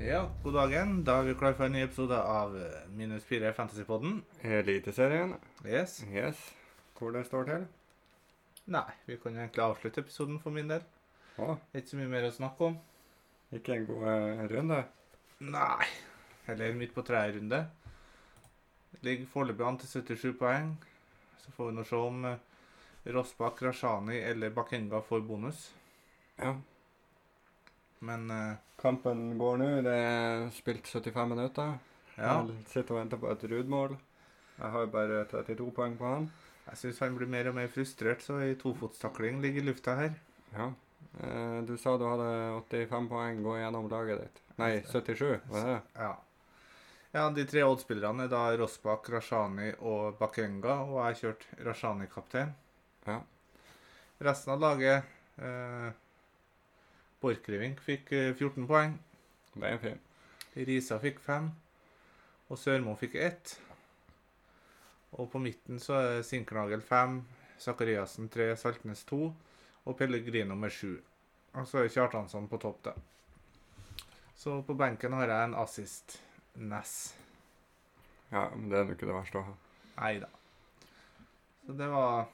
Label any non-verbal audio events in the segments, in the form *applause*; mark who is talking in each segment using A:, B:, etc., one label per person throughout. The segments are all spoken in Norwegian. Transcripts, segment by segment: A: Ja, god dagen. Da er vi klar for en ny episode av eh, Minus 4 Fantasypodden.
B: Eliteserien.
A: Yes.
B: Yes. Hvor det står til.
A: Nei, vi kan jo egentlig avslutte episoden for min del.
B: Å,
A: Ikke så mye mer å snakke om.
B: ikke en god eh, runde.
A: Nei. Eller midt på treet-runde. Ligger foreløpig an til 77 poeng. Så får vi nå se om eh, Rossbakk, Rashani eller Bakenga får bonus.
B: Ja.
A: Men eh,
B: Kampen går nå. Det er spilt 75 minutter.
A: ja,
B: Jeg sitter og venter på et Ruud-mål. Jeg har jo bare 32 poeng på han.
A: jeg syns han blir mer og mer frustrert, så ei tofotstakling ligger i lufta her.
B: Ja. Eh, Du sa du hadde 85 poeng. Gå gjennom laget ditt. Nei, 77, var det?
A: Ja. ja, de tre oddspillerne er da Rossbakk, Rashani og Bakenga, og jeg har kjørt Rashani-kaptein.
B: Ja.
A: Resten av laget eh, Borchgrevink fikk eh, 14 poeng,
B: Det er fint.
A: Risa fikk 5, og Sørmo fikk 1. Og på midten så er Sinkernagel 5, Sakariassen 3, Saltnes 2 og Pellegrino med 7. Og så er Kjartansson på topp, da. Så på benken har jeg en assist. Ness.
B: Ja, men det er jo ikke det verste å ha.
A: Nei da. Så det var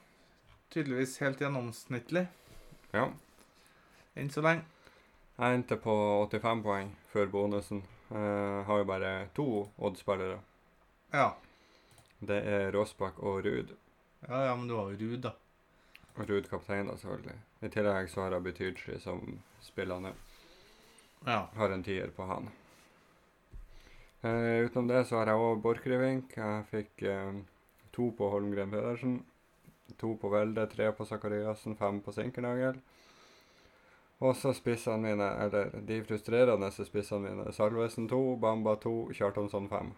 A: tydeligvis helt gjennomsnittlig
B: Ja.
A: enn så lenge.
B: Jeg endte på 85 poeng før bonusen. Eh, har jo bare to oddspillere.
A: Ja.
B: Det er Råsbakk og Ruud.
A: Ja, ja, men du var jo rude, da.
B: Og Ruud kaptein, da, selvfølgelig. I tillegg så har jeg Butyrchi som spillende.
A: Ja.
B: Har en tier på han. Eh, utenom det så har jeg òg Borchgrevink. Jeg fikk eh, to på Holmgren Pedersen. To på Velde, tre på Sakariassen, fem på Sinkernagel. Og så spissene mine, eller de frustrerende spissene mine, Salvesen 2, Bamba 2, Kjartansson 5.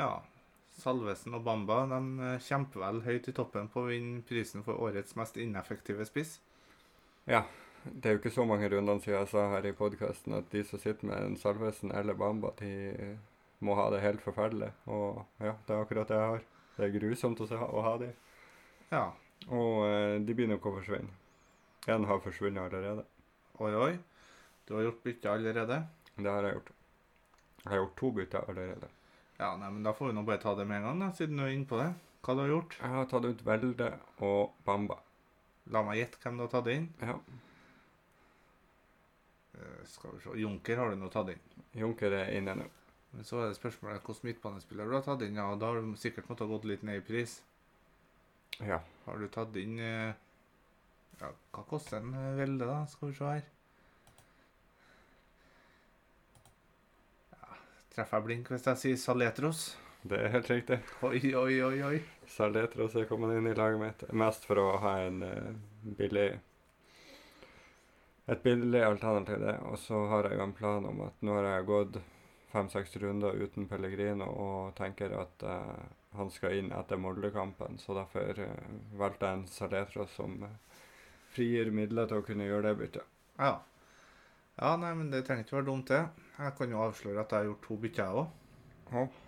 A: ja. Salvesen og Bamba de eh, kjemper vel høyt i toppen på å vinne prisen for årets mest ineffektive spiss.
B: Det er jo ikke så mange rundene siden jeg sa her i podkasten at de som sitter med en Salvesen eller Bamba, de må ha det helt forferdelig. Og ja, det er akkurat det jeg har. Det er grusomt å, se, å ha de.
A: Ja.
B: Og eh, de begynner ikke å forsvinne. Én har forsvunnet allerede.
A: Oi, oi. Du har gjort bytte allerede?
B: Det har jeg gjort. Jeg har gjort to bytter allerede.
A: Ja, nei, men da får vi nå bare ta det med en gang, da, siden du er inne på det. Hva du har gjort?
B: Jeg har tatt ut Velde og Bamba.
A: La meg gjette hvem du har tatt inn.
B: Ja,
A: Eh, skal vi se. Junker har du nå tatt inn.
B: Junker er inne nå.
A: Men så er det spørsmålet hvilken midtbanespiller du har tatt inn. Ja, og da har du sikkert måttet gått litt ned i pris.
B: Ja.
A: Har du tatt inn eh, Ja, hva koster en eh, velde, da? Skal vi se her. Ja, treffer jeg blink hvis jeg sier Saletros?
B: Det er helt riktig.
A: Oi, oi, oi, oi.
B: Saletros er kommet inn i laget mitt. Mest for å ha en eh, billig Et billig alternativ til det. Og så har jeg jo en plan om at nå har jeg gått fem-seks runder uten Pellegrino og tenker at eh, han skal inn etter Molde-kampen, så derfor eh, valgte jeg en Saletros som eh, frigir midler til å kunne gjøre det byttet.
A: Ja. ja, nei, men det trenger ikke være dumt, det. Jeg kan jo avsløre at jeg har gjort to bytter, jeg òg.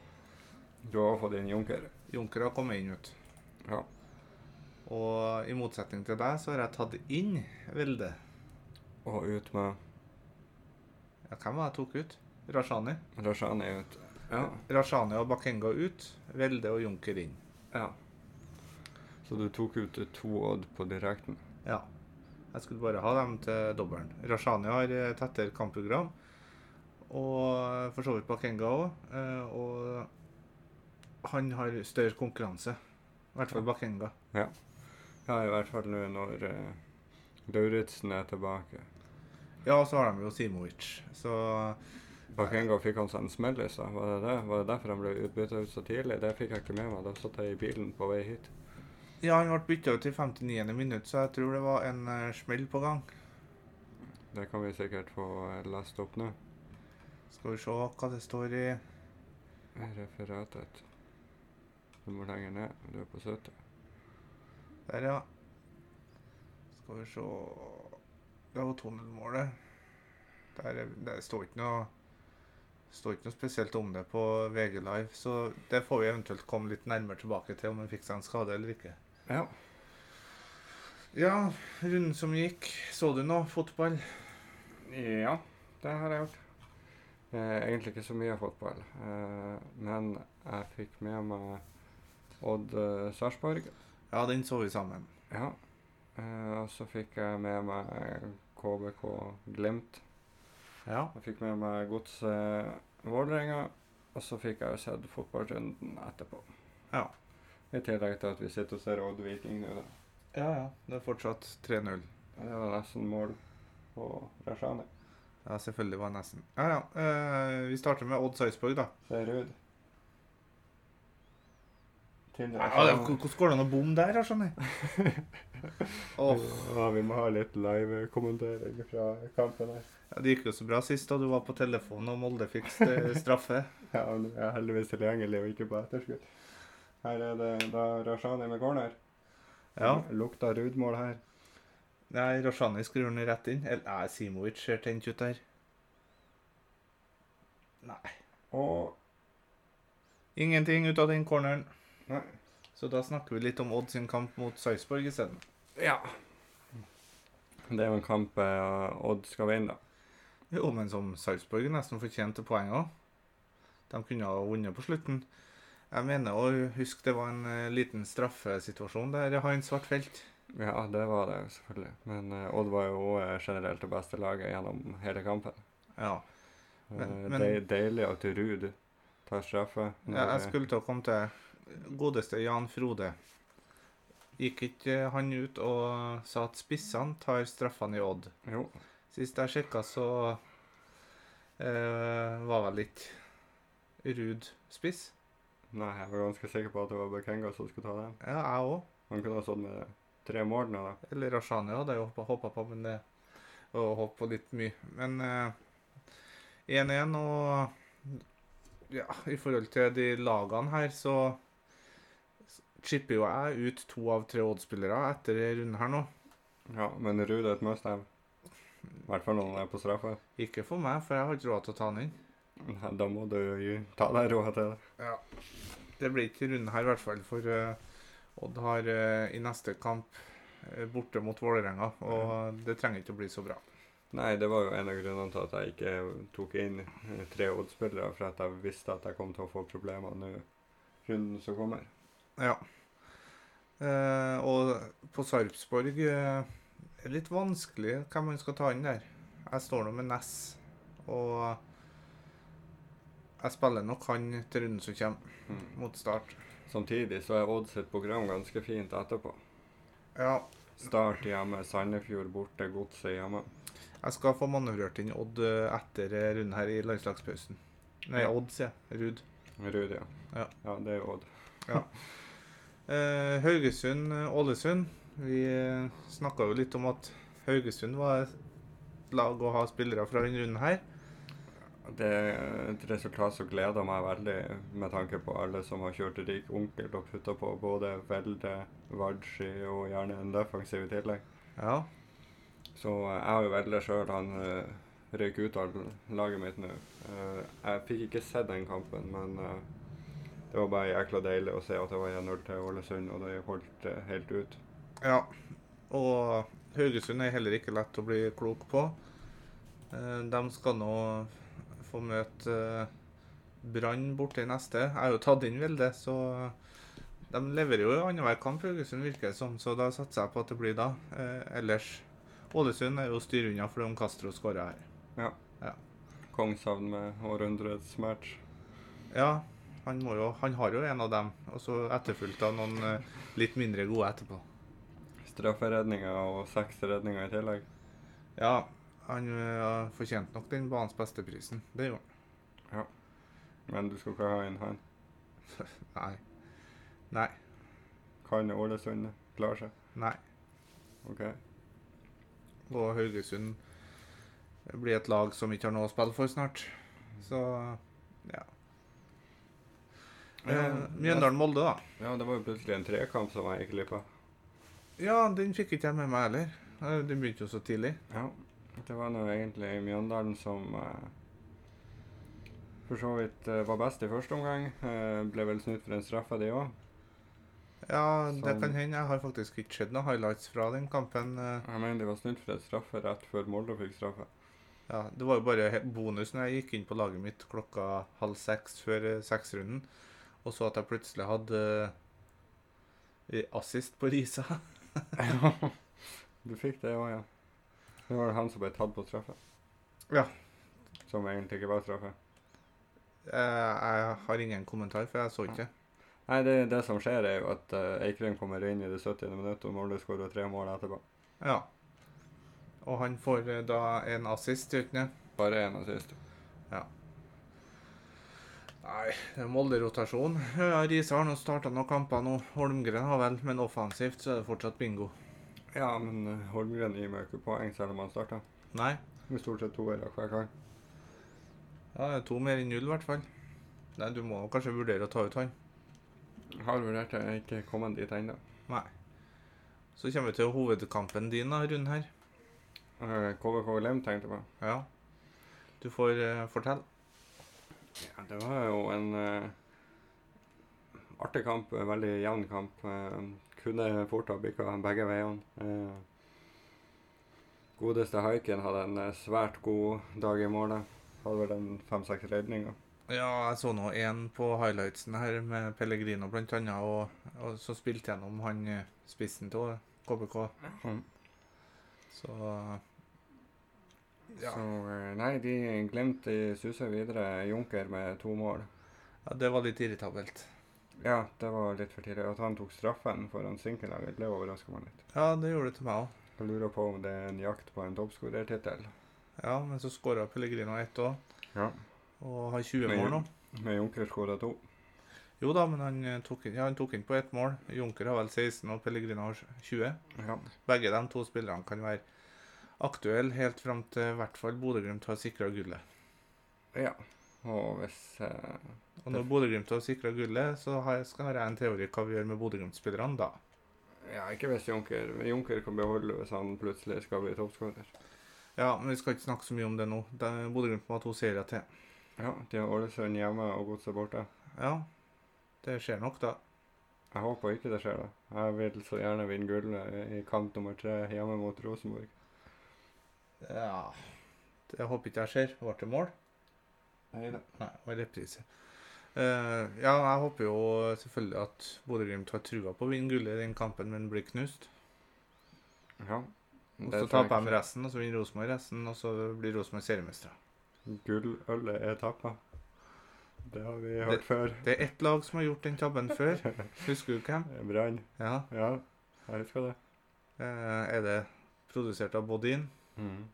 B: Du har fått inn Junker.
A: Junker har kommet inn, vet du.
B: Ja.
A: Og i motsetning til deg, så har jeg tatt inn Velde.
B: Og ut med
A: Ja, hvem var det jeg tok ut? Rashani?
B: Rashani ut. Ja.
A: Rashani og Bakenga ut, Velde og Junker inn.
B: ja. Så du tok ut to odd på direkten.
A: Ja. Jeg skulle bare ha dem til dobbelen. Rashani har eh, tettere kampprogram. Og for så vidt Bakenga òg. Og han har større konkurranse. I hvert fall Bakenga.
B: Ja, i hvert fall nå når uh, Lauritzen er tilbake.
A: Ja, og så har de jo Simovic. Så
B: Bakenga fikk han seg en smell i stad. Var, det det? var det derfor han ble bytta ut så tidlig? Det fikk jeg ikke med meg. Da satt jeg i bilen på vei hit.
A: Ja, han ble bytta ut i 59. minutt, så jeg tror det var en eh, smell på gang.
B: Det kan vi sikkert få eh, lest opp nå.
A: Skal vi se hva det står i
B: Referatet. Du må lenger ned. Du er på 70.
A: Der, ja. Skal vi se Det var tunnelmålet. Der, er- der står ikke noe står ikke noe spesielt om det på VG Live, så det får vi eventuelt komme litt nærmere tilbake til om han fikk seg en skade eller ikke.
B: Ja.
A: Ja, runden som gikk. Så du noe fotball?
B: Ja, det har jeg gjort. Eh, egentlig ikke så mye fotball, eh, men jeg fikk med meg Odd eh, Sarpsborg.
A: Ja, den så vi sammen.
B: Ja. Eh, og så fikk jeg med meg eh, KBK Glimt.
A: Ja.
B: Jeg fikk med meg Godset Vålerenga. Og så fikk jeg jo sett fotballrunden etterpå.
A: Ja.
B: I tillegg til at vi sitter og ser Odd Viking nå, da.
A: Ja, ja. Det er fortsatt 3-0.
B: Det var nesten mål på Rashani.
A: Ja, selvfølgelig var det nesten. Ja, ja. Eh, vi starter med Odd Sarpsborg, da.
B: Ser ut. Til
A: Ja, det,
B: Rashani.
A: hvordan går det an å bomme der, da, skjønner jeg? *laughs* Åh,
B: Ja, vi må ha litt live-kommentering fra kampen her. *laughs*
A: ja, det gikk jo så bra sist da du var på telefonen og Molde fikk st- straffe.
B: Ja, men jeg er heldigvis tilgjengelig og ikke på etterskudd. Her er det da Rashani med corner.
A: Ja.
B: Lukta rudmål her.
A: Nei, Roshani skrur den rett inn. Eller nei, Simovic ser tent ut der.
B: Og
A: Ingenting ut av den corneren.
B: Nei.
A: Så da snakker vi litt om Odd sin kamp mot Sarpsborg isteden.
B: Ja. Det er jo en kamp eh, Odd skal vinne, da.
A: Jo, men som Sarpsborg nesten fortjente poeng òg. De kunne ha vunnet på slutten. Jeg mener å huske det var en eh, liten straffesituasjon der Heinz ble felt.
B: Ja, det var det jo selvfølgelig. Men eh, Odd var jo eh, generelt det beste laget gjennom hele kampen.
A: Ja. Men-
B: Men,
A: men-
B: deilig at Ruud tar straffe. eh,
A: ja. Jeg skulle til å komme til godeste Jan Frode. Gikk ikke han ut og sa at spissene tar straffene i Odd?
B: Jo.
A: Sist jeg sjekka, så eh, var vel ikke Ruud spiss.
B: Nei, jeg var ganske sikker på at det var Bakenga som skulle ta den.
A: Ja, jeg òg.
B: Han kunne ha stått med tre mål nå, da.
A: Eller Rashani hadde jeg jo hoppa på, men det og hoppa på litt mye. Men eh, 1-1 og ja, i forhold til de lagene her, så chipper jo jeg ut to av tre Odd-spillere etter runden her nå.
B: Ja, men Ruud er et must-have. I hvert fall når han er på straffe.
A: Ikke for meg, for jeg har ikke råd til å ta han inn.
B: Nei, Da må du jo ta deg råd til det.
A: Det blir ikke runden her i hvert fall, for eh, Odd har eh, i neste kamp eh, borte mot Vålerenga, og det trenger ikke å bli så bra.
B: Nei, det var jo en av grunnene til at jeg ikke tok inn eh, tre Odd-spillere, for at jeg visste at jeg kom til å få problemer nå runden som kommer.
A: Ja. Eh, og på Sarpsborg eh, er det litt vanskelig hvem man skal ta inn der. Jeg står nå med Ness, og jeg spiller nok han til runden som kommer,
B: Mm.
A: mot start.
B: Samtidig så er Odd sitt program ganske fint etterpå.
A: Ja,
B: Start hjemme, Sandefjord borte, Godset hjemme.
A: jeg skal få manøvrert inn Odd eh, etter eh, runden her i landslagspausen. Nei,
B: Ja.
A: Odd, sier jeg. Ruud.
B: Ruud, ja.
A: Ja.
B: Ja, det er jo Odd.
A: Eh, Haugesund, eh, Ålesund. Vi eh, snakka jo litt om at Haugesund var et lag å ha spillere fra denne runden her.
B: Det er et resultat som gleder meg veldig, med tanke på alle som har kjørt rik onkel og putta på både Velde, Vargi og gjerne en defensiv i tillegg.
A: Ja.
B: Så eh, jeg har jo Velde sjøl. Han eh, røyk ut av laget mitt nå. Eh, Jeg fikk ikke sett den kampen, men eh, det var bare jækla deilig å se at det var 1-0 til Ålesund, og det holdt eh, helt ut.
A: ja. Og Haugesund er heller ikke lett å bli klok på. Eh, de skal nå få møte eh, Brann borte i neste. Jeg har jo tatt inn Velde, så de leverer jo i annenhver kamp, Haugesund virker det som, så da satser jeg på at det blir da. Eh, ellers Ålesund er jo styr unna fordi om Castro skåra her.
B: Kongshavn med århundrets match.
A: Ja, han, må jo, han har jo en av dem, og så etterfulgt av noen eh, litt mindre gode etterpå.
B: Strafferedninger og seks redninger i tillegg.
A: Ja, han eh, fortjente nok den banens beste prisen. Det gjorde han.
B: Men du skal ikke ha inn han.
A: Nei. Nei.
B: Kan Ålesund klare seg?
A: Nei.
B: OK.
A: Og Haugesund blir et lag som ikke har noe å spille for snart. Så ja. Eh, Mjøndalen-Molde, da.
B: Ja, det var jo plutselig en trekamp som jeg gikk glipp av.
A: Ja, den fikk ikke jeg med meg heller. Eh, Den begynte jo så tidlig.
B: Ja. Det var nå egentlig Mjøndalen som eh, for så vidt eh, var best i første omgang. Eh, ble vel snudd for en straffe, de òg.
A: Ja, det
B: Sånn.
A: kan hende. Jeg har faktisk ikke sett noen highlights fra den kampen. eh. *laughs*
B: Jeg mener de var snudd for en straffe rett før Molde fikk straffe.
A: Ja, det var jo bare he- bonus når jeg gikk inn på laget mitt klokka halv seks før eh, seksrunden, og så at jeg plutselig hadde eh, assist på Risa.
B: Du fikk det òg, ja. Det var han som ble tatt på straffe.
A: Ja.
B: Som egentlig ikke var straffe.
A: Eh, Jeg har ingen kommentar, for jeg så ikke.
B: Nei, det, det som skjer, er jo at uh, Eikrem kommer inn i det 70. minutt, og Molde skårer tre mål etterpå.
A: Ja. Og han får eh, da en assist, gjør han ikke det?
B: Bare én assist.
A: Nei, det er Molde-rotasjon. Ja, Riise har nå starta noen kamper nå. Holmgren har vel, men offensivt så er det fortsatt bingo.
B: Ja, men eh, Holmgren gir meg jo ikke poeng selv om han starta.
A: Nei.
B: Med stort sett toer av hver gang.
A: Ja, det er to mer enn null, i hvert fall. Nei, du må kanskje vurdere å ta ut han.
B: Har vurdert det, jeg er ikke kommet dit ennå.
A: Nei. Så kommer vi til hovedkampen din, da, Rund her.
B: Eh, KBK Lem tenkte jeg på.
A: Ja. Du får eh, fortelle.
B: Ja, det var jo en eh, artig kamp. En veldig jevn kamp. Eh, kunne fort ha bikka begge veiene. Eh, godeste Haiken hadde en eh, svært god dag i målet. Hadde vel en fem-seks redninger.
A: Ja, jeg så nå én på highlightsen her med Pellegrino blant annet, og, og så spilte jeg gjennom han eh, spissen til KBK.
B: Mm.
A: Så Ja.
B: Så eh, nei, de glemte de suser videre Junker med to mål.
A: ja, det var litt irritabelt.
B: Ja, det var litt for tidlig. At han tok straffen foran Sinkelaget, det overraska meg litt.
A: Ja, det gjorde det til meg òg.
B: Jeg lurer på om det er en jakt på en toppskårertittel.
A: Ja, men så skåra Pellegrino ett òg,
B: Ja.
A: og har 20
B: Men-
A: mål nå.
B: Med Junker skåra to.
A: Jo da, men han eh, tok inn, ja, han tok inn på ett mål. Junker har vel 16, og Pellegrino har 20.
B: Ja.
A: Begge de to spillerne kan være aktuelle helt fram til i hvert fall Bodø-Glimt har sikra gullet.
B: Ja. Og hvis eh,
A: Og når Bodø-Glimt har sikra gullet, så har jeg, skal, har jeg en teori hva vi gjør med Bodø-Glimt-spillerne da.
B: Ja, ikke hvis Junker Junker kan beholde hvis han plutselig skal bli toppskårer.
A: Ja, men vi skal ikke snakke så mye om det nå. De- Bodø-Glimt må ha to seire til.
B: Ja, de har Ålesund hjemme og Godset borte.
A: Ja, det skjer nok, da.
B: Jeg håper ikke det skjer, da. Jeg vil så gjerne vinne gullet i kamp nummer tre hjemme mot Rosenborg.
A: Ja Jeg håper ikke det skjer. Ble det mål?
B: Neida.
A: Nei, det var reprise. Eh, ja, jeg håper jo selvfølgelig at Bodø-Glimt har trua på å vinne gullet i den kampen, men blir knust.
B: Ja.
A: Og så taper de resten, og så vinner Rosenborg resten, og så blir Rosenborg seriemestere.
B: Gullølet er tappa. Det har vi hørt
A: Det-
B: før.
A: Det er ett lag som har gjort den tabben før. Husker du hvem?
B: Brann.
A: Ja.
B: Ja, jeg husker det.
A: Eh, er det produsert av Bodin?
B: Mm.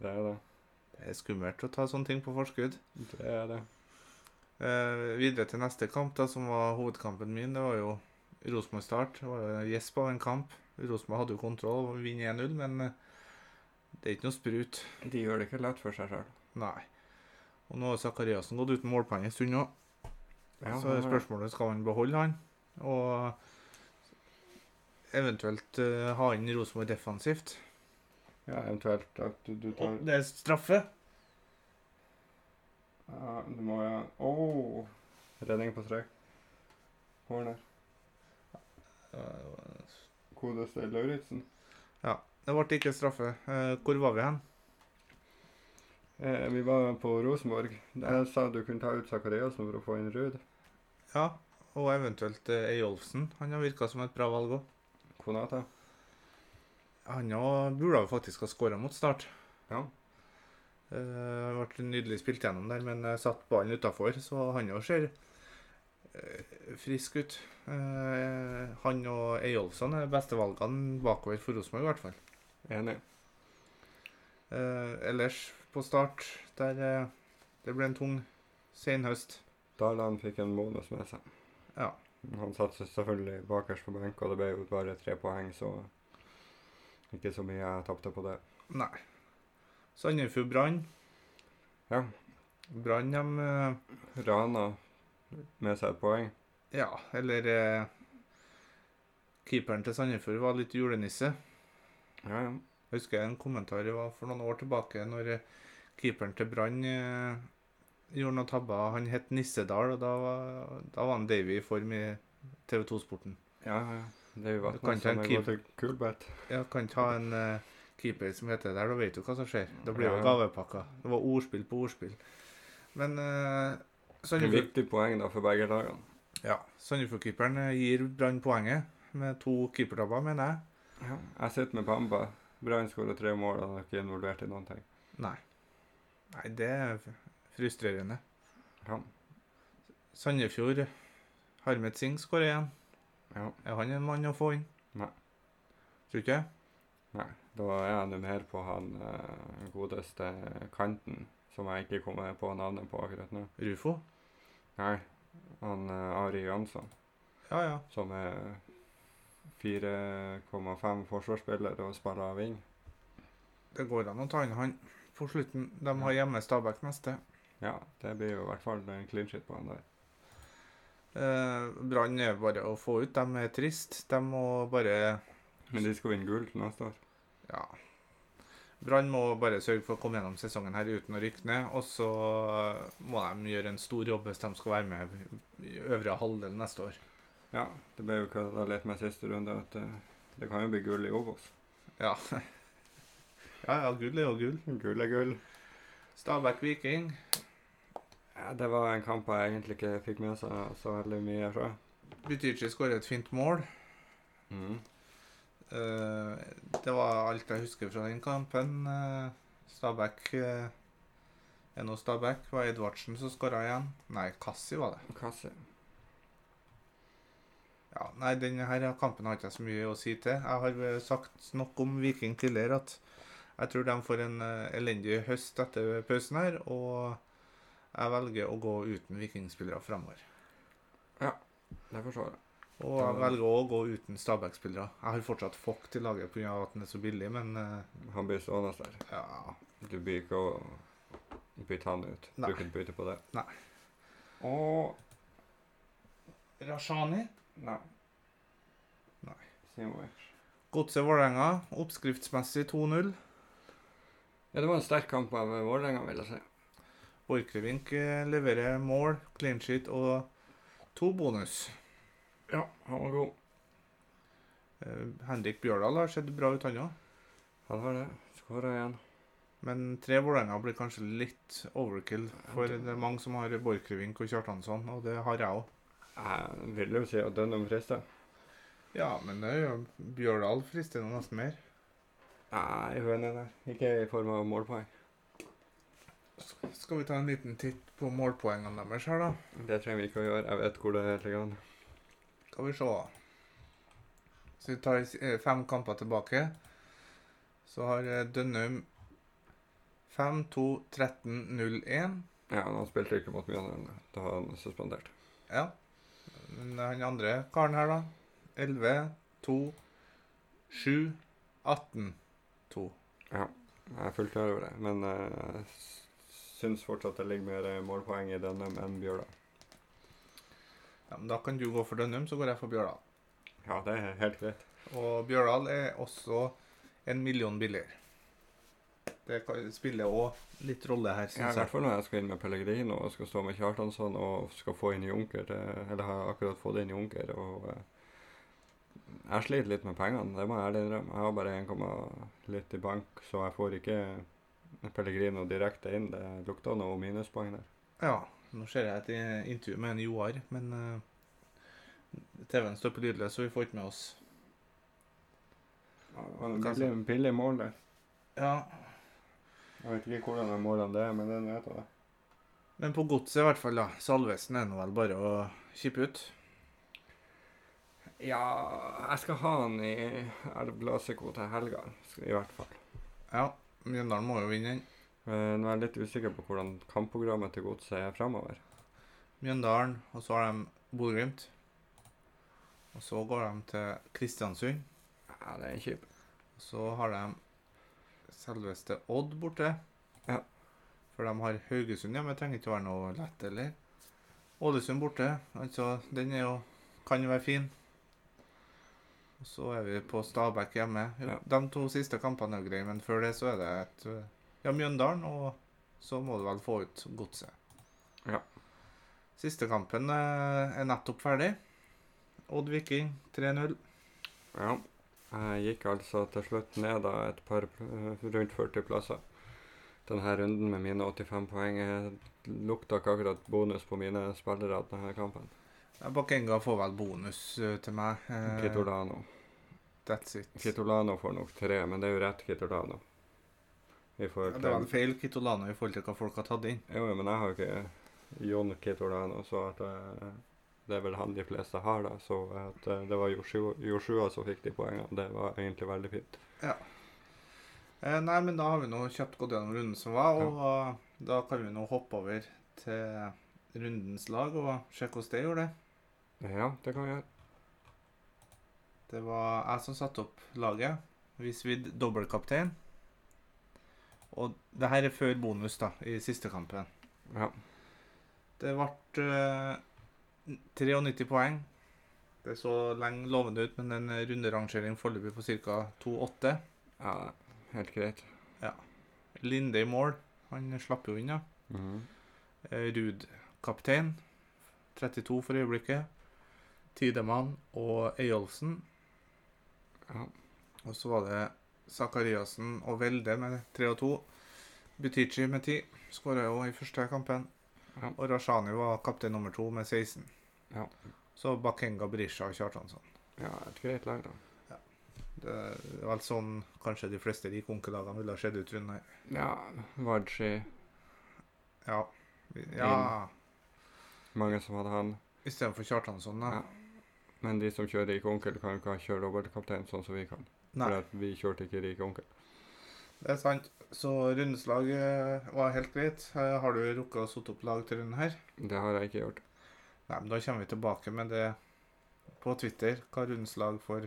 B: Det er det.
A: Det er skummelt å ta sånne ting på forskudd.
B: Det er det.
A: Eh, videre til neste kamp, da, som var hovedkampen min. Det var jo Rosenborg Start. Det var jo en gjesp av en kamp. Rosenborg hadde jo kontroll og vinner 1-0, men eh, det er ikke noe sprut.
B: De gjør det ikke lett for seg sjøl.
A: Nei. Og nå har Zakariassen gått uten målpoeng en stund nå. så er spørsmålet skal han beholde han, og eventuelt eh, ha inn Rosenborg defensivt.
B: Ja, eventuelt at du, du tar
A: Og det er straffe.
B: Ja, du må jo Åh! Redning på strek. Corner.
A: Eh,
B: Kodeste Lauritzen.
A: Det ble ikke straffe. Eh, Hvor var vi hen?
B: Eh, vi var på Rosenborg. Der sa du kunne ta ut Sakariassen for å få inn Ruud.
A: Ja, og eventuelt eh, Eyolfsen. Han har virka som et bra valg òg.
B: Konata.
A: Han òg burde jo faktisk ha skåra mot start.
B: Ja.
A: Eh, ble nydelig spilt gjennom der, men eh, satt ballen utafor, så han òg ser eh, frisk ut. Eh, han og Eyolfsson er beste valgene bakover for Rosenborg, i hvert fall.
B: Enig.
A: Eh, ellers på start, der eh, det ble en tung senhøst.
B: Darland fikk en bonus med seg.
A: Ja.
B: Han satt seg selvfølgelig bakerst på benk, og det ble jo bare tre poeng, så ikke så mye jeg tapte på det.
A: Nei. Sandefjord Brann.
B: Ja.
A: Brann, dem eh,
B: Rana med seg et poeng.
A: Ja, eller eh, Keeperen til Sandefjord var litt julenisse.
B: Ja, ja.
A: Jeg husker en kommentar det var for noen år tilbake, når eh, keeperen til Brann eh, gjorde noen tabber. Han het Nissedal, og da var, da var han Davy i form i TV 2-sporten.
B: ja, ja. Det er jo
A: Du kan
B: Vatne
A: ta en
B: som er
A: keep-
B: gått til Kulbeth.
A: Jeg kan ta en eh, keeper som heter det der, da vet du hva som skjer. Da blir det
B: Ja.
A: jo gavepakker. Det var ordspill på ordspill. Men eh,
B: Det er
A: Sandefjord-
B: viktig poeng da for begge lagene.
A: ja, Sandefjord-keeperen eh, gir Brann poenget med to keepertabber, mener jeg.
B: Ja. Jeg sitter med Pamba. Brann skårer tre mål, og han er ikke involvert i noen ting.
A: Nei. Nei, det er frustrerende.
B: Ja.
A: Sandefjord Harmet Singh skårer igjen.
B: Ja.
A: Er han en mann å få inn?
B: Nei.
A: Tror ikke?
B: Nei. Da er jeg nå mer på han eh, godeste kanten, som jeg ikke kommer på navnet på akkurat nå.
A: Rufo?
B: Nei. Han eh, Ari Jansson,
A: Ja, ja.
B: som er 4,5 forsvarsspiller og spiller wing.
A: Det går an å ta inn han på slutten. De har hjemme Stabæk neste.
B: Ja, det blir jo i hvert fall en clean shit på han der.
A: Eh, Brann er bare å få ut. De er trist. De må bare
B: Men de skal vinne gull til neste år.
A: Ja. Brann må bare sørge for å komme gjennom sesongen her uten å rykke ned. Og så må de gjøre en stor jobb hvis de skal være med i øvre halvdel neste år.
B: Ja, det ble jo kødda litt med siste runde at eh, det kan jo bli gull i Obos.
A: Ja. *laughs* Ja, ja, gull er jo gull.
B: *laughs* Gull er gull.
A: Stabæk Viking.
B: Ja, det var en kamp jeg egentlig ikke fikk med seg så veldig mye fra.
A: Butichi skårer et fint mål.
B: Mm.
A: Eh, det var alt jeg husker fra den kampen. Eh, Stabæk uh, er nå Stabæk. Var Edvardsen som skåra igjen? Nei, Kassi var det.
B: Kasse.
A: Ja, nei, denne her kampen har ikke jeg så mye å si til. Jeg har eh, sagt nok om Viking tidligere at jeg tror de får en eh, elendig høst etter pausen her, og jeg velger å gå uten vikingspillere framover.
B: Det forstår jeg.
A: Og jeg velger å gå uten Stabæk-spillere. Jeg har fortsatt Fock til laget pga. at den er så billig, men eh,
B: Han blir stående der.
A: ja,
B: Du blir ikke å bytte han ut.
A: Nei.
B: Du kan bytte på det.
A: Nei.
B: Og
A: Rashani.
B: Nei.
A: Nei.
B: Simovic.
A: Godset Vålerenga, oppskriftsmessig 2-0.
B: Ja, det var en sterk kamp av Vålerenga, vil jeg si.
A: Borchgrevink eh, leverer mål, clean sheet og to bonus.
B: Ja, han var god.
A: Eh, Henrik Bjørdal har sett bra ut, han òg.
B: Han har det. Skåra igjen.
A: Men tre Vålerenga blir kanskje litt overkill, for det er mange som har Borchgrevink og Kjartansson, og det har jeg òg.
B: Jeg vil jo si at Dønnum frister.
A: Ja, men det er jo Bjørdal frister nå nesten mer.
B: Nei, uenig der. Ikke i form av målpoeng.
A: Skal vi ta en liten titt på målpoengene deres her, da?
B: Det trenger vi ikke å gjøre. Jeg vet hvor det ligger an.
A: Skal vi se. Så vi tar eh, fem kamper tilbake. Så har eh, Dønnum 5-2-13-0-1.
B: Ja, men han spilte ikke mot Mjøndalen. Da var han suspendert.
A: Ja. Men han andre karen her, da. 11-2-7-18-2.
B: Jeg er fullt klar over det, men eh, jeg syns fortsatt det ligger mer eh, målpoeng i denne enn Bjørdal.
A: Ja, men da kan du gå for Dønnum, så går jeg for Bjørdal.
B: Ja, det er helt greit.
A: Og Bjørdal er også en million billigere. Det kan- spiller òg litt rolle her,
B: Ja, I
A: syns jeg.
B: hvert fall når jeg skal inn med Pellegrino og skal stå med Kjartansson og skal få inn Junker. eh, Eller har akkurat fått inn Junker. Og eh, jeg sliter litt med pengene, det må jeg ærlig innrømme. Jeg har bare 1, litt i bank, så jeg får ikke Pellegrino direkte inn. Det lukter noe minuspoeng der.
A: Ja, nå ser jeg et eh, intervju med en Joar, men eh, TV-en står på lydløs, så vi får ikke med oss.
B: Ja, det var en
A: Hva sa-
B: billig, billig mål der.
A: Ja,
B: Jeg vet ikke hvordan de målene det er, men den vet jeg. det.
A: men på godset i hvert fall, da. Salvesen er nå vel bare å kippe ut.
B: Ja, jeg skal ha han i Elvlaseko til helga, sk- i hvert fall.
A: Ja, Mjøndalen må jo vinne den.
B: Eh, Nå er jeg litt usikker på hvordan kampprogrammet til godset er fremover.
A: Mjøndalen, og så har de Bodø-Glimt. Og så går de til Kristiansund.
B: Ja, det er kjipt.
A: Og så har de selveste Odd borte.
B: Ja.
A: For de har Haugesund hjemme. Trenger ikke være noe lett, eller? Ålesund borte. Altså, den er jo Kan jo være fin. Og så er vi på Stabæk hjemme. Jo,
B: Ja.
A: De to siste kampene er greie, men før det så er det et øh, Ja, Mjøndalen, og så må du vel få ut Godset.
B: Ja.
A: Siste kampen eh, er nettopp ferdig. Odd Viking 3-0.
B: Ja. Jeg gikk altså til slutt ned da et par pl- rundt 40 plasser. Denne runden med mine 85 poeng eh, lukta ikke akkurat bonus på mine spillere denne kampen.
A: Ja, Bakenga får vel bonus eh, til meg. Eh,
B: Kitolano.
A: That's it.
B: Kitolano får nok tre, men det er jo rett Kitolano. I
A: Ja,
B: forhold
A: det var
B: til
A: en feil Kitolano i forhold til hva folk har tatt inn.
B: Jo, jo, men jeg har jo ikke Jon Kitolano, så at eh, det er vel han de fleste har, da. Så at eh, det var Joshua, Joshua som fikk de poengene. Det var egentlig veldig fint.
A: Eh, nei, men da har vi nå kjapt gått gjennom runden som var, og eh, da kan vi nå hoppe over til rundens lag og sjekke hvordan det gjorde det.
B: Ja, det kan vi gjøre.
A: Det var jeg som satte opp laget. Vi svidde dobbeltkaptein. Og det her er før bonus, da, i siste kampen.
B: Ja.
A: Det ble eh, 93 poeng. Det så lenge lovende ut, men en eh, runderangering foreløpig på ca. 2,8.
B: ja helt greit.
A: Linde i mål. Han slapp jo inn, da.
B: Mhm.
A: Eh, Ruud kaptein, 32 for øyeblikket. Tidemann og Eyolfsen.
B: Ja.
A: Og så var det Sakariassen og Velde med 3 og 2. Butichi med 10. Skåra jo i første kampen.
B: Ja.
A: Og Rashani var kaptein nummer to med 16.
B: Ja.
A: Så Bakenga, Berisha og Kjartansson.
B: Ja, et greit lag, da.
A: Det er vel sånn kanskje de fleste de konkelagene ville ha sett ut rundt her.
B: Ja, Wadji.
A: Ja. Vi- ja.
B: Mange som hadde han.
A: Istedenfor Kjartansson, da.
B: Ja. Men de som kjører Rik Onkel, kan jo ikke kjøre dobbeltkaptein sånn som vi kan.
A: Nei.
B: For at vi kjørte ikke Rik Onkel.
A: Det er sant. Så rundens lag eh, var helt greit. Eh, Har du rukket å sette opp lag til runden her?
B: Det har jeg ikke gjort.
A: Nei, men da kommer vi tilbake med det på Twitter, hva rundens lag for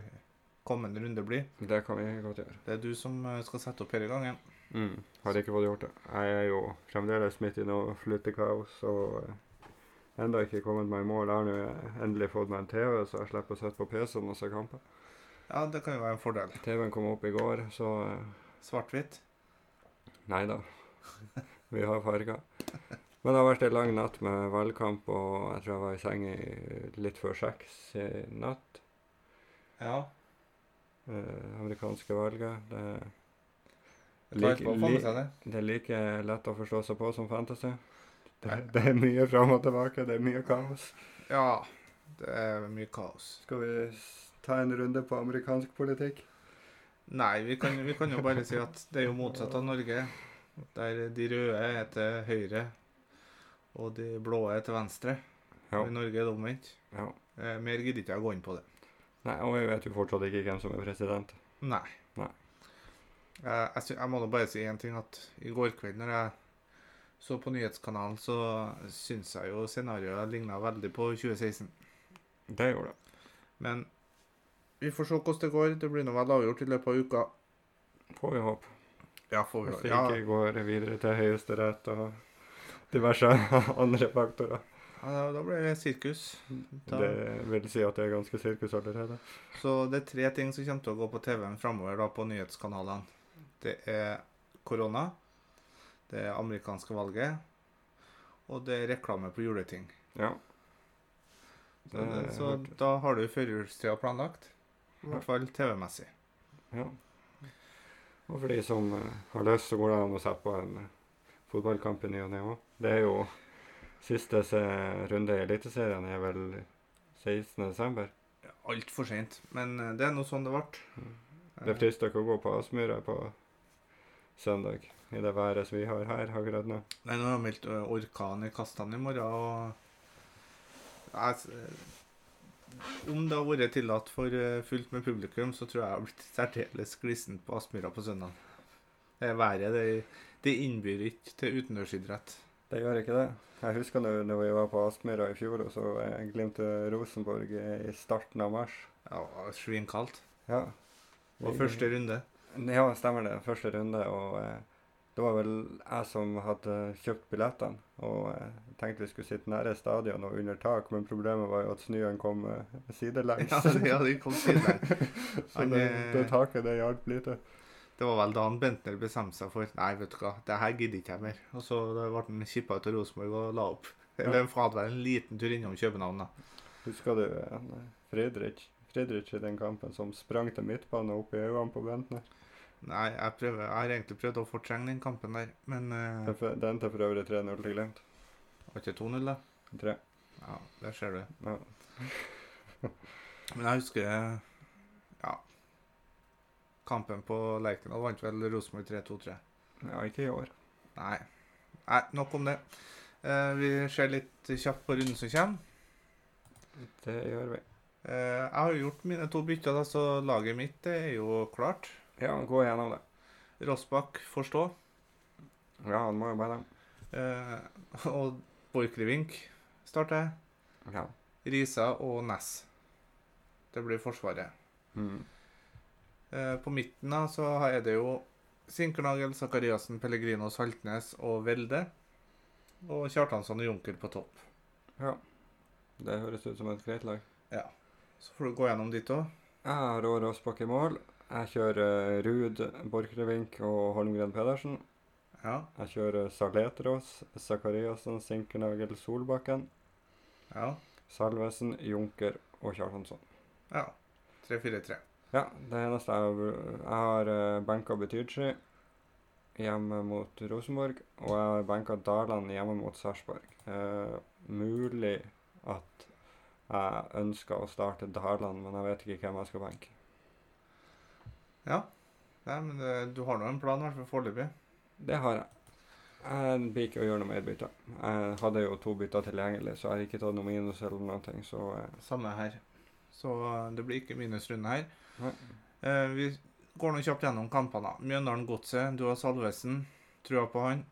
A: kommende runde blir.
B: Det kan vi godt gjøre.
A: Det er du som eh, skal sette opp hele gangen.
B: Mm. Har ikke fått gjort det. Jeg er jo fremdeles midt i noe flyttekaos og eh, enda ikke kommet meg i mål. Jeg har nå endelig fått meg en TV, så jeg slipper å sitte på PC-en og se kamper.
A: Ja, det kan jo være en fordel.
B: TV-en kom opp i går, så eh,
A: Svart-hvitt.
B: Nei da. Vi har farger. Men det har vært en lang natt med valgkamp, og jeg tror jeg var i seng i litt før seks i natt.
A: Ja.
B: Eh, amerikanske valget. Det,
A: Det tar
B: Lik-
A: på å få med
B: lik-
A: seg det.
B: det er like lett å forstå seg på som fantasy. Det, det er mye fram og tilbake, det er mye kaos.
A: Ja. Det er mye kaos.
B: Skal vi s- ta en runde på amerikansk politikk?
A: Nei, vi kan, vi kan jo bare si at det er jo motsatt av Norge. Der de røde er til høyre, og de blå er til venstre.
B: Ja.
A: Og I Norge er det omvendt.
B: ja.
A: Eh, Mer gidder ikke jeg å gå inn på det.
B: Nei, og jeg vet jo fortsatt ikke hvem som er president.
A: Nei.
B: Nei.
A: Eh, jeg, sy jeg må nå bare si én ting. at I går kveld når jeg så på nyhetskanalen, så syns jeg jo scenarioet ligna veldig på 2016.
B: Det gjorde det.
A: Men vi får se hvordan det går. Det blir nå vel avgjort i løpet av uka.
B: Får vi håpe.
A: Ja, får
B: Hvis
A: vi
B: det
A: ja,
B: ikke går videre til Høyesterett og diverse andre faktorer.
A: ja, da- Da blir det sirkus. Da.
B: Det vil si at det er ganske sirkus allerede.
A: Så det er tre ting som kommer til å gå på TV-en framover da, på nyhetskanalene. Det er korona, det er amerikanske valget, og det er reklame på juleting.
B: Ja.
A: Så, det,
B: Det
A: Eh, så
B: hørte-
A: da har du førjulstida planlagt. I hvert fall TV-messig.
B: ja. Og for de som eh, har lyst, så går det an å sette på en eh, fotballkamp i ny og ne òg. Det er jo siste se- runde i Eliteserien er vel 16.12.
A: Altfor seint. Men eh, det er nå sånn det ble. Eh,
B: Det frister ikke å gå på Aspmyra på søndag i det været som vi har her akkurat nå.
A: Nei, nå har jeg meldt eh, orkan i Kastan i morgen, og jeg, s- eh, Om det har vært tillatt for eh, fullt med publikum, så tror jeg jeg har blitt særdeles glisen på Aspmyra på søndag. Det været det, det innbyr ikke til utendørsidrett.
B: Det gjør ikke det. Jeg husker når, når vi var på Aspmyra i fjor, og så eh, glimte Rosenborg i starten av mars.
A: Ja, det var Svinkaldt.
B: Ja.
A: Og første runde.
B: Ja, stemmer det. Første runde. Og eh, det var vel jeg som hadde kjøpt billettene. Og eh, tenkte vi skulle sitte nære stadion og under tak, men problemet var jo at snøen kom eh, sidelengs.
A: *laughs* Ja, det, ja, det kom sidelengs.
B: *laughs* så det,
A: han, eh,
B: det taket, det hjalp lite.
A: Det var vel da han Bentner bestemte seg for Nei, vet du hva, det her gidder ikke jeg mer. Og så da ble han kippa ut av Rosenborg og la opp. Eller han hadde vel en liten tur innom København, da.
B: Husker du eh, Fredrik? Fredrik Friedrich i den kampen som sprang til midtbanen og opp i øynene på Bentner.
A: Nei, jeg, prøver, jeg har egentlig prøvd å fortrenge den kampen der, men eh,
B: Den for- Den til for øvrig 3-0 til Glimt.
A: var ikke 2-0, da?
B: Tre.
A: Ja, der ser du.
B: Ja.
A: *laughs* Men jeg husker eh, Ja. Kampen på Lerkendal vant vel Rosenborg 3-2, tror jeg.
B: ja, ikke i år.
A: Nei. Nei, nok om det. Eh, vi ser litt kjapt på runden som kommer.
B: Det gjør vi.
A: Eh, jeg har jo gjort mine to bytter, da, så laget mitt det er jo klart.
B: Ja, gå gjennom det.
A: Rossbakk får stå.
B: Ja, han må jo bare
A: Eh, og Borchgrevink starter jeg.
B: Ja.
A: Risa og Ness. Det blir Forsvaret.
B: Mm.
A: Eh, på midten da, så har jeg det jo Sinkernagel, Sakariassen, Pellegrino, Saltnes og Velde. Og Kjartansson og Junker på topp.
B: ja. Det høres ut som et greit lag.
A: Så får du gå gjennom ditt òg.
B: Jeg har Rå Rossbakk i mål. Jeg kjører eh, Ruud, Borchgrevink og Holmgren Pedersen.
A: Ja,
B: Jeg kjører Saletros, Sakariassen, Sinkernagel, Solbakken,
A: ja,
B: Salvesen, Junker og Kjartansson.
A: ja. 3-4-3.
B: Ja, det eneste jeg har Jeg har eh, benka Betydsky hjemme mot Rosenborg, og jeg har benka Daland hjemme mot Sarpsborg. Eh, mulig at jeg ønsker å starte Daland, men jeg vet ikke hvem jeg skal benke.
A: Ja. Nei, men eh, du har nå en plan, i hvert fall foreløpig.
B: Det har jeg. Jeg blir ikke å gjøre noe mer bytter. Jeg hadde jo to bytter tilgjengelig, så jeg har ikke tatt noe minus eller noen ting, så eh,
A: Samme her. Så eh, det blir ikke minusrunde her.
B: Nei.
A: Eh, vi går nå kjapt gjennom kampene. da. Mjøndalen Godset, du har Salvesen. Trua på han.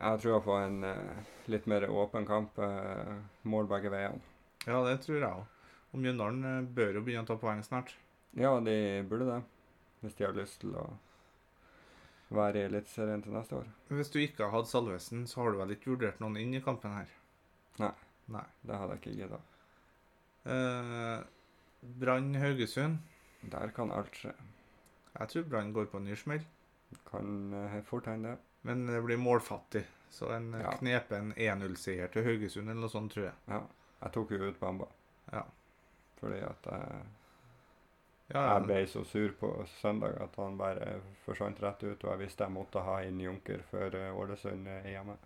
B: jeg tror jeg får en eh, litt mer åpen kamp. eh, mål begge veiene.
A: Ja, det tror jeg òg. Og Mjøndalen eh, bør jo begynne å ta poeng snart.
B: Ja, de burde det. Hvis de har lyst til å være i Eliteserien til neste år.
A: Men Hvis du ikke har hatt Salvesen, så har du vel ikke vurdert noen inn i kampen her?
B: Nei.
A: Nei.
B: Det hadde jeg ikke gidda.
A: Eh, Brann Haugesund.
B: Der kan alt skje.
A: Jeg tror Brann går på en ny smell,
B: Kan eh, fort hende.
A: men det blir målfattig. Så en eh,
B: Ja.
A: knepen 1-0-seier til Haugesund eller noe sånt, tror jeg.
B: Ja. Jeg tok jo ut Bamba.
A: Ja.
B: Fordi at jeg
A: Ja,
B: Jeg
A: ja.
B: ble så sur på søndag at han bare forsvant rett ut, og jeg visste jeg måtte ha inn Junker før eh, Ålesund eh, er hjemme.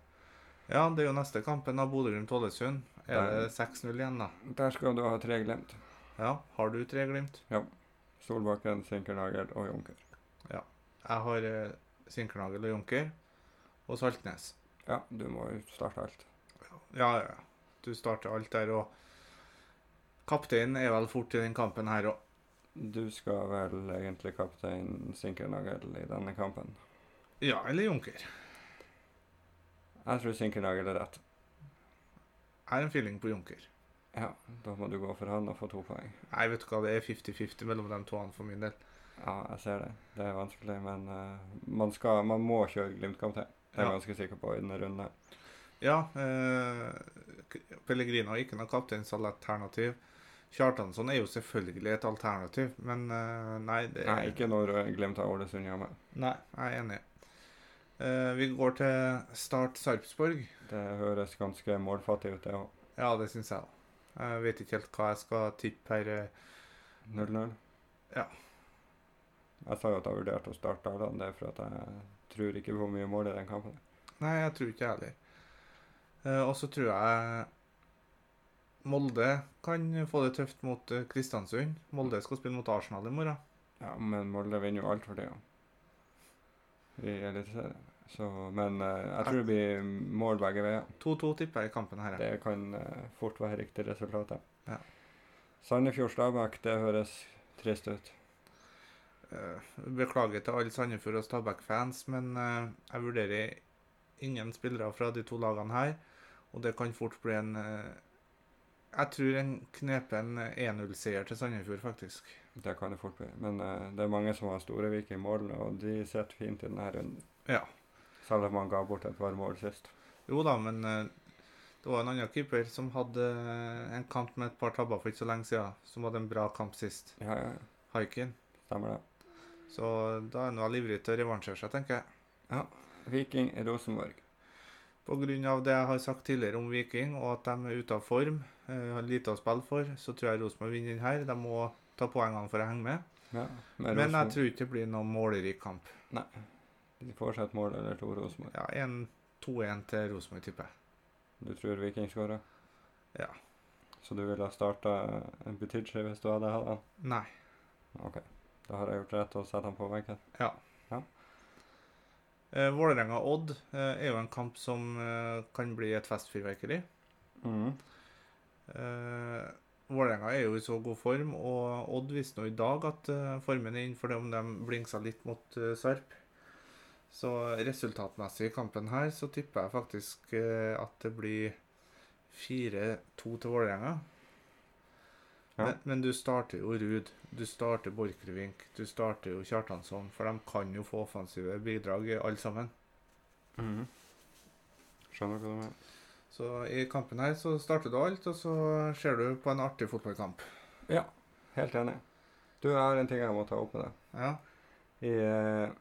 A: ja, det er jo neste kampen av Bodø-Glimt-Ålesund. Er
B: Der.
A: det 6-0 igjen, da?
B: Der skal du ha tre Glimt.
A: Ja. Har du tre Glimt?
B: Solbakken, Sinkernagel og Junker.
A: Jeg har eh, Sinkernagel og Junker. Og Saltnes.
B: Ja, du må jo starte alt.
A: Ja, ja. Du starter alt der, og kapteinen er vel fort i den kampen her òg.
B: Du skal vel egentlig kaptein Sinkernagel i denne kampen.
A: Ja, eller Junker.
B: Jeg tror Sinkernagel er rett.
A: Jeg har en feeling på Junker.
B: Ja, da må du gå for han og få to poeng.
A: Nei, vet du hva, det er 50-50 mellom de to for min del.
B: Ja, jeg ser det. Det er vanskelig, men eh, man, skal, man må kjøre Glimt-kaptein. Det er jeg
A: Ja.
B: ganske sikker på i denne runden. her.
A: Ja, eh, Pellegrino har ikke noe kapteinsalternativ. Kjartansson er jo selvfølgelig et alternativ, men eh, nei, det
B: Nei, ikke når eh, Glimt har Ålesund hjemme.
A: Nei, jeg er enig. Eh, vi går til Start Sarpsborg.
B: Det høres ganske målfattig ut, det òg.
A: Ja, det syns jeg òg. Jeg vet ikke helt hva jeg skal tippe her. eh.
B: 0-0.
A: Ja.
B: Jeg sa jo at jeg vurderte å starte Arland, det er for at jeg tror ikke på mye mål i den kampen.
A: Nei, jeg tror ikke jeg heller. Eh, og så tror jeg Molde kan få det tøft mot eh, Kristiansund. Molde skal spille mot Arsenal i morgen.
B: Ja, men Molde vinner jo alt for det, jo. I Eliteserien. Så Men eh, jeg tror det blir mål begge veier.
A: 2-2 tipper jeg i kampen her. ja.
B: Det kan eh, fort være riktig resultat,
A: Ja.
B: Sandefjord-Stabæk, det høres trist ut.
A: Eh, beklager til alle Sandefjord og Stabæk-fans, men eh, jeg vurderer ingen spillere fra de to lagene her. Og det kan fort bli en eh, Jeg tror en knepen 1-0-seier til Sandefjord, faktisk.
B: Det kan det fort bli. Men eh, det er mange som har Storevik i mål, og de sitter fint i denne runden.
A: Ja.
B: Selv om han ga bort et par mål sist.
A: Jo da, men eh, det var en annen keeper som hadde eh, en kamp med et par tabber for ikke så lenge siden, som hadde en bra kamp sist.
B: Ja, ja, ja.
A: Haikin.
B: stemmer det.
A: Så da er han vel ivrig til å revansjere seg, tenker jeg.
B: Viking Rosenborg.
A: Pga. det jeg har sagt tidligere om Viking, og at de er ute av form, eh, har lite å spille for, så tror jeg Rosenborg vinner den her. De må ta poengene for å henge med.
B: Ja,
A: Men jeg
B: Rosenborg-
A: tror ikke det blir noen målerik kamp.
B: De får seg et mål eller to, Rosenborg.
A: Ja, en 2-1 til Rosenborg, tipper jeg.
B: Du tror Viking skårer?
A: Ja.
B: Så du ville ha starta Butichi hvis du hadde hatt han?
A: Nei.
B: OK. Da har jeg gjort rett og sette han på veggen.
A: Ja.
B: Ja.
A: Eh, Vålerenga-Odd eh, er jo en kamp som eh, kan bli et festfyrverkeri.
B: Mhm.
A: Eh, Vålerenga er jo i så god form, og Odd visste nå i dag at eh, formen er inn, fordi om de blingsa litt mot eh, Sarp. Så resultatmessig i kampen her, så tipper jeg faktisk eh, at det blir 4-2 til Vålerenga.
B: Ja.
A: Men, men du starter jo Ruud, du starter Borchgrevink, du starter jo Kjartansson, for de kan jo få offensive bidrag eh, alle sammen.
B: Mhm. Skjønner hva du mener.
A: Så i kampen her så starter du alt, og så ser du på en artig fotballkamp.
B: Ja, helt enig. Du jeg har en ting jeg må ta opp med deg.
A: Ja.
B: I eh,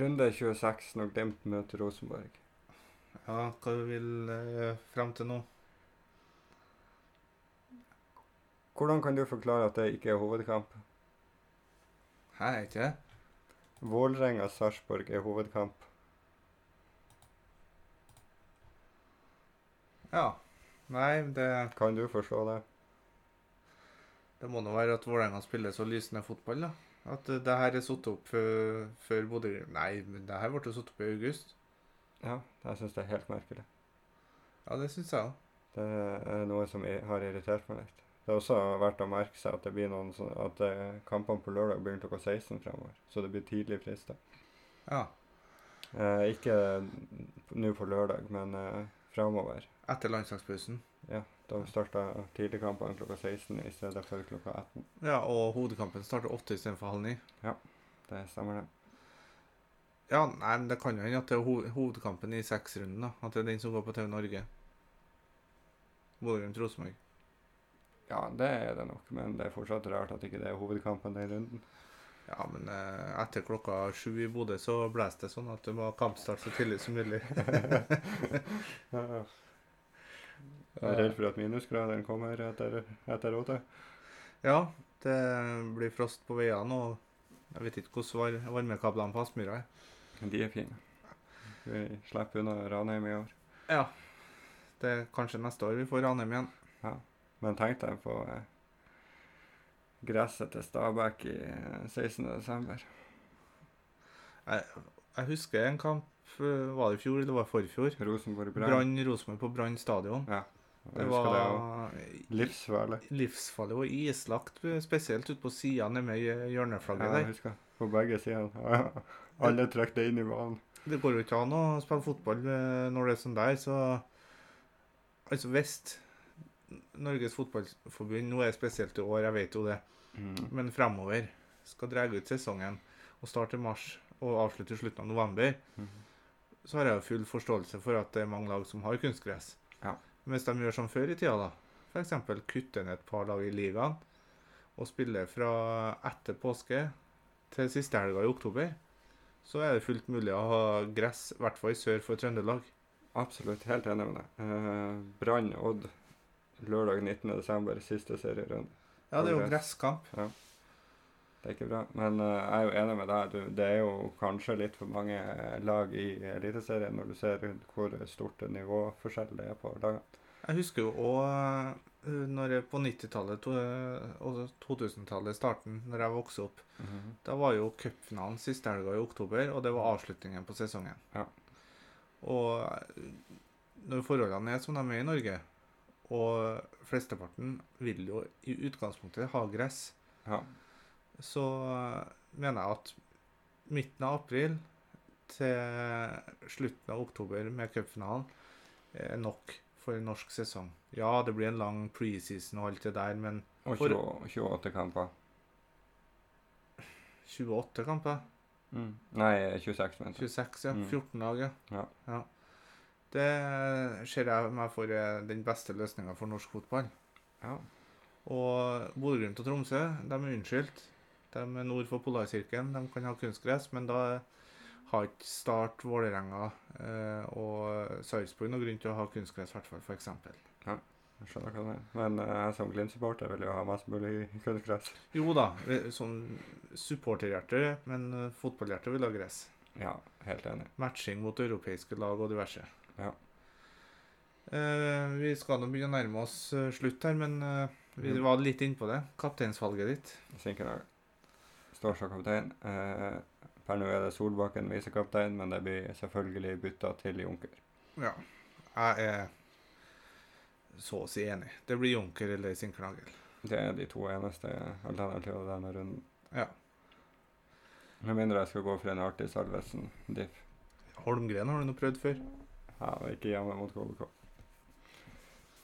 B: runde 26, når Glimt møter Rosenborg
A: Ja, hva du vil eh, frem til nå?
B: Hvordan kan du forklare at det ikke er hovedkamp?
A: Hæ, er ikke det?
B: Vålerenga-Sarpsborg er hovedkamp.
A: Ja. Nei, det,
B: Kan du forstå det?
A: det må nå være at Vålerenga spiller så lysende fotball, da. At eh, det her er satt opp eh, før Bodø Nei, men det her ble jo satt opp i august.
B: Ja, jeg syns det er helt merkelig.
A: Ja, det syns jeg òg.
B: Det er noe som i- har irritert meg litt. Det er også verdt å merke seg at det blir noen sånn at eh, kampene på lørdag begynner klokka 16 fremover, så det blir tidlig frister.
A: Ja.
B: Eh, ikke nå på lørdag, men eh, fremover.
A: Etter landslagspausen.
B: Ja, da starter tidligkampene klokka 16 i stedet for klokka 18.
A: Ja, og hovedkampen starter åtte istedenfor halv ni.
B: Det stemmer, det.
A: Ja, nei, men det kan jo hende at det er ho hovedkampen i seksrunden, da. At det er den som går på TV Norge. Bodø-Glimt-Rosenborg.
B: Ja, det er det nok, men det er fortsatt rart at ikke det er hovedkampen den runden.
A: Ja, men eh, etter klokka sju i Bodø så blåser det sånn at du må ha kampstart så tidlig som mulig. *laughs*
B: Jeg er redd for at minusgradene kommer etter, etter åtte.
A: Ja, det blir frost på veiene, og jeg vet ikke hvordan var varmekablene på Aspmyra er.
B: Men De er fine. Vi slipper unna Ranheim i år.
A: Ja. Det er kanskje neste år vi får Ranheim igjen.
B: Men tenk deg på eh, gresset til Stabæk i eh, 16. desember.
A: Jeg husker en kamp, eh, var det i fjor eller var det forfjor?
B: Rosenborg Brann.
A: Brann Rosenborg på Brann stadion. Det
B: var
A: var
B: livsfarlig.
A: livsfarlig og islagt, eh, spesielt ute på sida nede med hjørneflagget
B: Ja, jeg
A: der.
B: husker. På begge sidene. *laughs* Alle trekte inn i banen.
A: Det går jo ikke an å spille fotball eh, når det er sånn der, så Altså, Vest Norges Fotballforbund, nå er det spesielt i år, jeg vet jo det.
B: Mm.
A: Men fremover skal dra ut sesongen og starte i mars og avslutte i slutten av november,
B: Mhm.
A: så har jeg jo full forståelse for at det er mange lag som har kunstgress.
B: Ja.
A: Men hvis de gjør som før i tida, da, f.eks. kutter ned et par lag i ligaen og spiller fra etter påske til siste helga i oktober, så er det fullt mulig å ha gress, i hvert fall sør for Trøndelag.
B: Absolutt. Helt enig med deg. Eh, Brann Odd lørdag 19. desember, siste serierunde.
A: Ja, det er jo
B: Gress.
A: gresskamp.
B: Det er ikke bra. Men eh, jeg er jo enig med deg. Du, det er jo kanskje litt for mange eh, lag i Eliteserien når du ser hvor stort nivåforskjell det er på lagene.
A: Jeg husker jo òg når jeg på 90-tallet to- eh, og 2000-tallet, starten, når jeg vokste opp
B: Mhm.
A: Da var jo cupfinalen siste helga i oktober, og det var avslutningen på sesongen.
B: Ja.
A: Og eh, når forholdene er som de er i Norge, og flesteparten vil jo i utgangspunktet ha gress,
B: Ja.
A: så eh, mener jeg at midten av april til slutten av oktober med cupfinalen er nok for en norsk sesong. Ja, det blir en lang preseason og alt det der, men
B: Og
A: For-
B: 20, 28 kamper.
A: 28 kamper?
B: Mm. Nei, 26, mente jeg.
A: 26, ja.
B: Mm.
A: 14 dager.
B: Ja.
A: Det ser jeg meg for er den beste løsninga for norsk fotball.
B: Ja.
A: Og Bodø-Glimt og Tromsø de er unnskyldt. De er nord for Polarsirkelen. De kan ha kunstgress, men da har ikke Start, Vålerenga eh, og Sarpsborg noen grunn til å ha kunstgress, i hvert fall, for eksempel.
B: Jeg skjønner hva du mener. Men eh, jeg som Glimt-supporter vil jo ha mest mulig *laughs* kunstgress.
A: Jo da, eh, sånn supporterhjerte, men eh, fotballhjerte vil ha gress.
B: Ja, helt enig.
A: Matching mot europeiske lag og diverse.
B: Ja.
A: Eh, vi skal nå begynne å nærme oss eh, slutt her, men eh, vi
B: Mm.
A: var litt innpå det. Kapteinsvalget ditt.
B: Sinkenhagen står som kaptein. Eh, per nå er det Solbakken visekaptein, men det blir selvfølgelig bytta til Junker.
A: Ja. Jeg er så å si enig. Det blir Junker eller Sinkernagel.
B: Det er de to eneste alternativene denne runden.
A: Ja.
B: Med mindre jeg skal gå for en artig Salvesen diff.
A: Holmgren har du nå prøvd før?
B: Ja, og ikke hjemme mot KBK.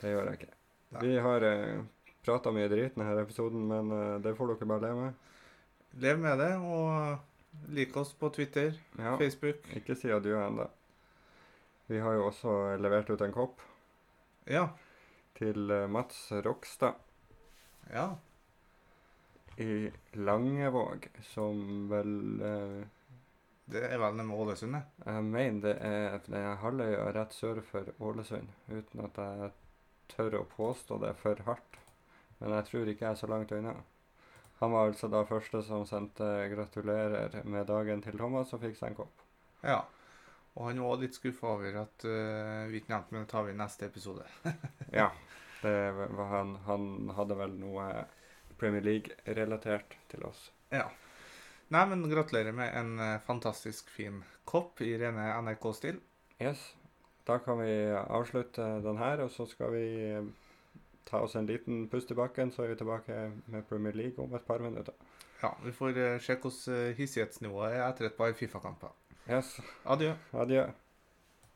B: Det gjør jeg ikke.
A: Nei.
B: Vi har eh, prata mye drit denne episoden, men eh, det får dere bare leve med.
A: Lev med det, og lik oss på Twitter,
B: Ja,
A: Facebook.
B: ikke si adjø ennå. Vi har jo også levert ut en kopp
A: Ja.
B: til eh, Mats Rokstad.
A: Ja.
B: i Langevåg, som vel eh,
A: Det er vel med Ålesund, det.
B: Jeg mener det er det er halvøya rett sør for Ålesund, uten at jeg tør å påstå det for hardt. Men jeg tror ikke jeg er så langt unna. Han var altså da første som sendte 'gratulerer med dagen' til Thomas, og fikk seg en kopp.
A: Ja. Og han var litt skuffa over at eh, vi ikke nevnte men det tar vi i neste episode.
B: Ja, det var han, han hadde vel noe Premier League-relatert til oss.
A: Nei, men gratulerer med en eh, fantastisk fin kopp i rene NRK-stil.
B: Yes. Da kan vi avslutte den her, og så skal vi eh, ta oss en liten pust i bakken, så er vi tilbake med Premier League om et par minutter.
A: Ja, vi får eh, sjekke hvordan eh, hissighetsnivået er etter et par Fifa-kamper.
B: Yes.
A: Adjø.
B: Adjø.